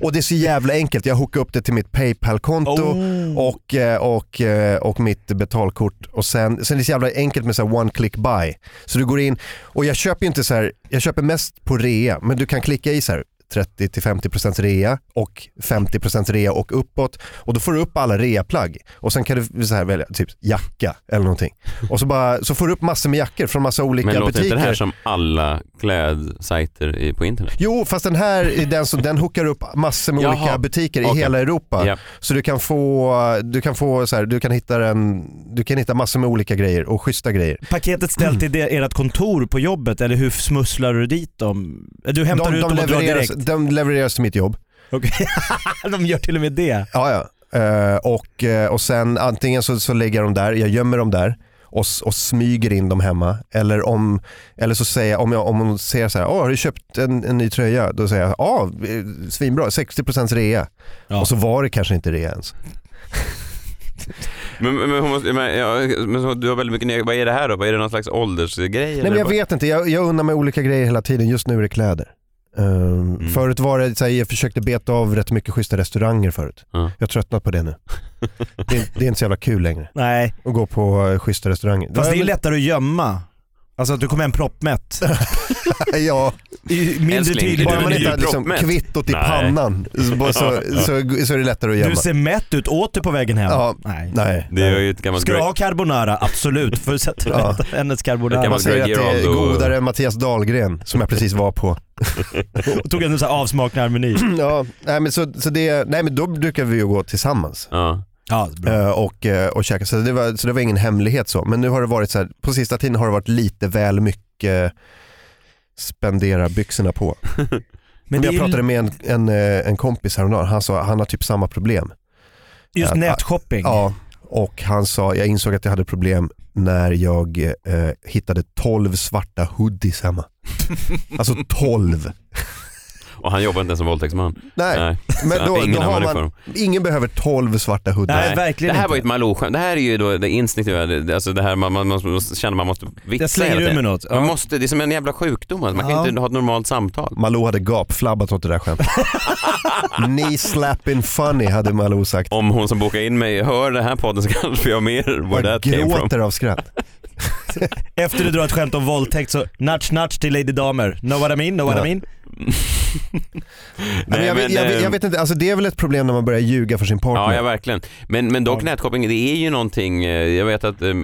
och det är så jävla enkelt. Jag hookar upp det till mitt Paypal-konto Oh. Mm. och, eh, och, eh, och mitt betalkort. Och sen, sen är det så jävla enkelt med så här one click buy. Så du går in och jag köper ju inte så här, jag köper mest på rea men du kan klicka i så här 30-50% rea och 50% rea och uppåt och då får du upp alla reaplagg och sen kan du så här välja typ jacka eller någonting och så, bara, så får du upp massor med jackor från massa olika Men låter butiker. inte det här som alla klädsajter i- på internet? Jo, fast den här är den, som, den hookar upp massor med Jaha, olika butiker i okej. hela Europa. Ja. Så du kan få, du kan få så här, du kan hitta den, du kan hitta massor med olika grejer och schyssta grejer. Paketet ställt till det, ert kontor på jobbet eller hur smusslar du dit dem? Du hämtar ut dem och drar levereras, direkt? de levereras till mitt jobb. Okej. de gör till och med det. Ja, ja. Eh, och, eh, och sen antingen så, så lägger jag dem där, jag gömmer dem där och, s- och smyger in dem hemma. Eller om, eller så säger jag, om, jag, om hon säger så här, "Åh, har du köpt en, en ny tröja? Då säger jag, ja, eh, svinbra, 60% rea. Ja. Och så var det kanske inte rea ens. Men, men, men, hon måste, men, ja, men så- du har väldigt mycket, ne- vad är det här då? Vad är det någon slags åldersgrej? Nej, eller men jag vad- vet inte, jag, jag undrar mig olika grejer hela tiden. Just nu är det kläder. Ehm, Mm. Förut var det, så här, jag försökte beta av rätt mycket schyssta restauranger förut. Ja. Jag har tröttnat på det nu. Det är, det är inte så jävla kul längre Nej, att gå på eh, schyssta restauranger. fast det är Ja, lättare att gömma. Alltså att du kommer hem proppmätt. men- Ja, Det är ju Mindre Älskling, tydligt. bara du man inte har nyproppmätt? liksom kvittot i Nej. pannan så, bara så, så, så är det lättare att gömma. Du ser mätt ut, åt du på vägen hem? Ja. Nej. Nej. Det är ju ett gammalt Ska du Greg- ha carbonara? Absolut, för att du Ja. ja. hennes Det kan carbonara. man- Man säger att det är Geraldo- godare än Mattias Dahlgren som jag precis var på. Och tog en sån här avsmaknarmeny. Ja, nej, men så, så det, nej men då brukar vi ju gå tillsammans. Ja. Ja, bra. Eh, och, eh, och käka. Så det, var, så det var ingen hemlighet så. Men nu har det varit så här, på sista tiden har det varit lite väl mycket spendera byxorna på. Men det är jag ju pratade med en, en, eh, en kompis häromdagen, han sa han har typ samma problem. just Ja, nätshopping. Ja, och han sa, jag insåg att jag hade problem när jag eh, hittade 12 svarta hoodies hemma. alltså 12. Och han jobbar inte ens som våldtäktsman. Nej, men Så då, ingen då har har varit för man, dem. ingen behöver 12 svarta hoodies. Nej, verkligen det här inte. var ju ett malou Det här är ju då det instinktiva, det, det- alltså det här man, man, man, man känner man måste Jag vitsa slänger hela ur tiden. med något. Man Ja. måste, det är som en jävla sjukdom, alltså. man kan Ja. inte ha ett normalt samtal. Malou hade gapflabbat åt det där skämtet. Knee slapping funny hade Malou sagt. Om hon som bokar in mig hör den här podden så kanske jag mer where Bara that came from. gråter av skratt. efter du drar ett skämt om våldtäkt så natch natch till Lady Damer. Know what I mean? Know what I mean? Nej, men jag, vet, jag, vet, jag vet inte, alltså det är väl ett problem när man börjar ljuga för sin partner. eh, Ja, ja verkligen. Men, men dock nätkoppling, det är ju någonting, eh, jag vet att eh,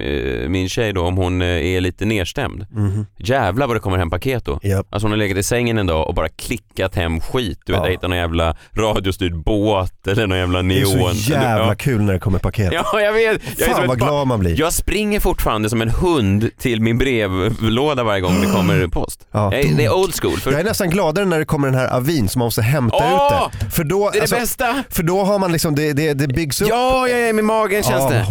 min tjej då, om hon eh, är lite nedstämd, Mhm. jävlar vad det kommer hem paket då. Japp. Alltså hon har legat i sängen en dag och bara klickat hem skit. Du vet, jag hittar någon jävla radiostyrd båt eller någon jävla Det är neon. så jävla Ja. kul när det kommer paket. Ja, jag vet. Jag är Fan som vad ett ba- glad man blir. Jag springer fortfarande som en hund till min brevlåda varje gång det kommer post. Ja. Jag- Det är old school. För Jag är nästan gladare när det kommer den här avin som man måste hämta Åh! ut det. För då, alltså, Det är det bästa. För då har man liksom, det, det, det byggs upp. Ah. Ja, ja, ja, med magen känns det.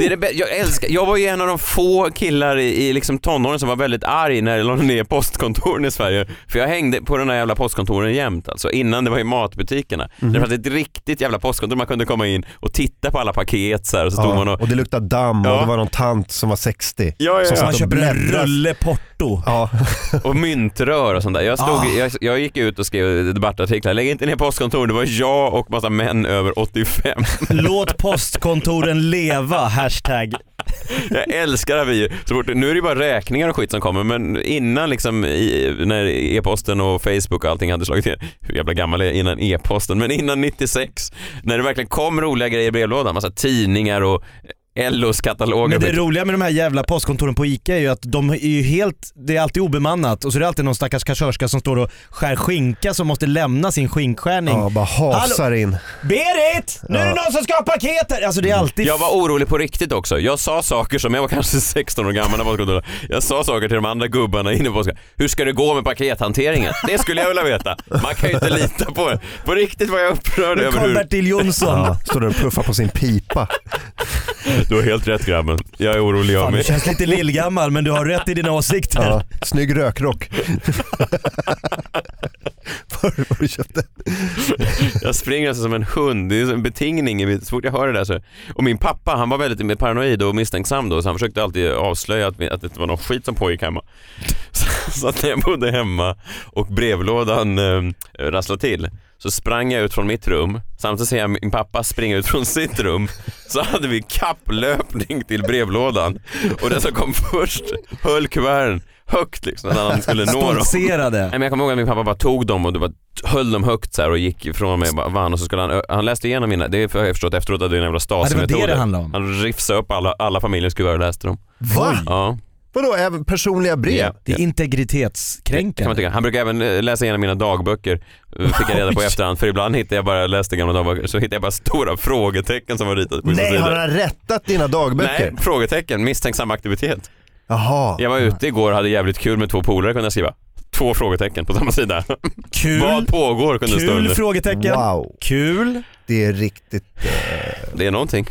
Det är det bä- jag, älskar, jag var ju en av de få killar i, i liksom tonåren som var väldigt arg när det lade ner postkontoren i Sverige. För jag hängde på de där jävla postkontoren jämt alltså, innan det var i matbutikerna. Mhm. Det fanns ett riktigt jävla postkontor man kunde komma in och titta på alla paket så här, och så stod man och... och det luktade damm Ja. och det var någon tant som var 60. Ja, som ja, ja. satt Man och köper en bläddrade. Rulle porto. Ja. Och myntrör och sånt där. Jag, stod, Ah. jag, jag gick ut och skrev debattartiklar. Lägg inte ner postkontor, det var jag och massa män över 85. Låt postkontoren leva, hashtag. Jag älskar avier. Så fort, nu är det bara räkningar och skit som kommer men innan liksom i, när e-posten och Facebook och allting hade slagit in. Hur jävla gammal är jag innan e-posten? Men innan 96 när det verkligen kom roliga grejer i brevlådan. Massa tidningar och LOs kataloger. Men det roliga med de här jävla postkontoren på ICA är ju att de är ju helt, det är alltid obemannat och så är det alltid någon stackars kassörska som står och skär skinka som måste lämna sin skinkskärning. Ja, bara hasar Hallå? in. Berit! Nu är det Ja. någon som ska ha paket här! Alltså det är alltid... Jag var orolig på riktigt också. Jag sa saker som, jag var kanske 16 år gammal när postkontoret Jag sa saker till de andra gubbarna inne på postkontoret. Hur ska det gå med pakethanteringen? Det skulle jag vilja veta. Man kan ju inte lita på det. På riktigt var jag upprörd Nu över kom hur... Bertil Jonsson. Ja, står där och puffar på sin pipa. Du har helt rätt grabben. Jag är orolig jag Fan, du med. känns lite lillgammal men du har rätt i dina åsikter. Ja, snygg rökrock. Var var du köpt den? Jag springer alltså som en hund. Det är en betingning. i mitt- Så fort jag hör det där så. Och min pappa han var väldigt mer paranoid och misstänksam då så han försökte alltid avslöja att, vi- att det inte var någon skit som pågick hemma. Så, så att när jag bodde hemma och brevlådan eh, rasslade till så sprang jag ut från mitt rum. Samtidigt ser jag min pappa springa ut från sitt rum. Så hade vi kapplöpning till brevlådan och den som kom först höll kuverten högt liksom när han skulle nå dem. Stoltserade. Nej, men jag kommer ihåg att min pappa bara tog dem och det bara höll dem högt så här och gick ifrån mig och bara vann och så skulle han, ö- han läste igenom mina, det har jag förstått efteråt att det är en jävla Stasi-metod. Ja, det var det det handlade om. Han rifsade upp alla, alla familjens kuvert och läste dem. Va? Ja. Vadå, även personliga brev? Ja. Det är Kan man integritetskränkande. tycka. Han brukar även eh, läsa igenom mina dagböcker, eh, fick jag reda på i Oj. efterhand. För ibland hittade jag bara, jag läste gamla dagböcker, så hittade jag bara stora frågetecken som var ritade på vissa Nej, har sidor. han rättat dina dagböcker? Nej, frågetecken, misstänksam aktivitet. Jaha. Jag var ute igår och hade jävligt kul med två polare kunde jag skriva. Två frågetecken på samma sida. Kul, Vad pågår kunde det stå kul under. frågetecken. Wow, Mm, Kul. det är riktigt, eh, Det är någonting.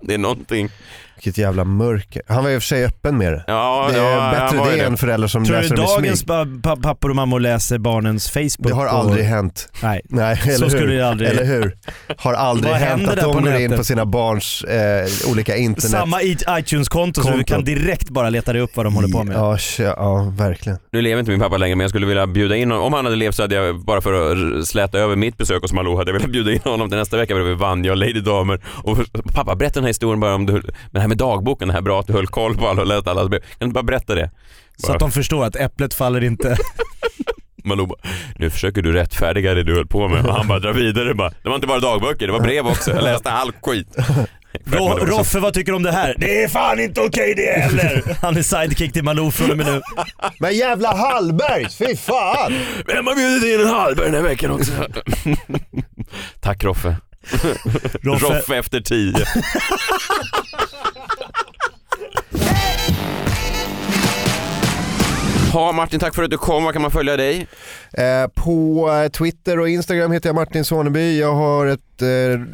det är någonting. vilket jävla mörker. Han var i och för sig öppen med det. Ja, Det ja, är han var bättre ju det än föräldrar som Tror du läser dem i dagens smyg. pa- pa- pappor och mammor läser barnens Facebook? Det har och- aldrig hänt. Nej. Nej, eller Så hur? skulle det aldrig- Eller hur? Har aldrig Vad hänt händer att där på de går in nätet? på sina barns eh, olika internet. Samma i- iTunes-konto så du Konto. kan direkt bara leta dig upp vad de håller på med. Ja, tja, ja verkligen. Nu lever inte min pappa längre men jag skulle vilja bjuda in honom. Om han hade levt så hade jag bara för att r- släta över mitt besök hos Malou hade jag velat bjuda in honom till nästa vecka för vi vann jag Lady Damer. Och för- pappa berätta den här historien bara om du, men det här med dagboken, det här bra att du höll koll på alla och lät alla brev. Kan du inte bara berätta det? Så att de förstår att äpplet faller inte. Malou bara, nu försöker du rättfärdiga det du höll på med och han bara drar vidare bara, det var inte bara dagböcker, det var brev också, jag läste all skit. Ro- Roffe, vad tycker du om det här? Det är fan inte okej det heller! Han är sidekick till Malou från och med nu. Men jävla Hallbergs, fy fan! Vem har bjudit in en halvberg den här veckan också? Tack Roffe. Roffe. Roffe. efter tio. Ha, Martin, tack för att du kom. Var kan man följa dig? Eh, på eh, Twitter och Instagram heter jag Martin Soneby. Jag har ett,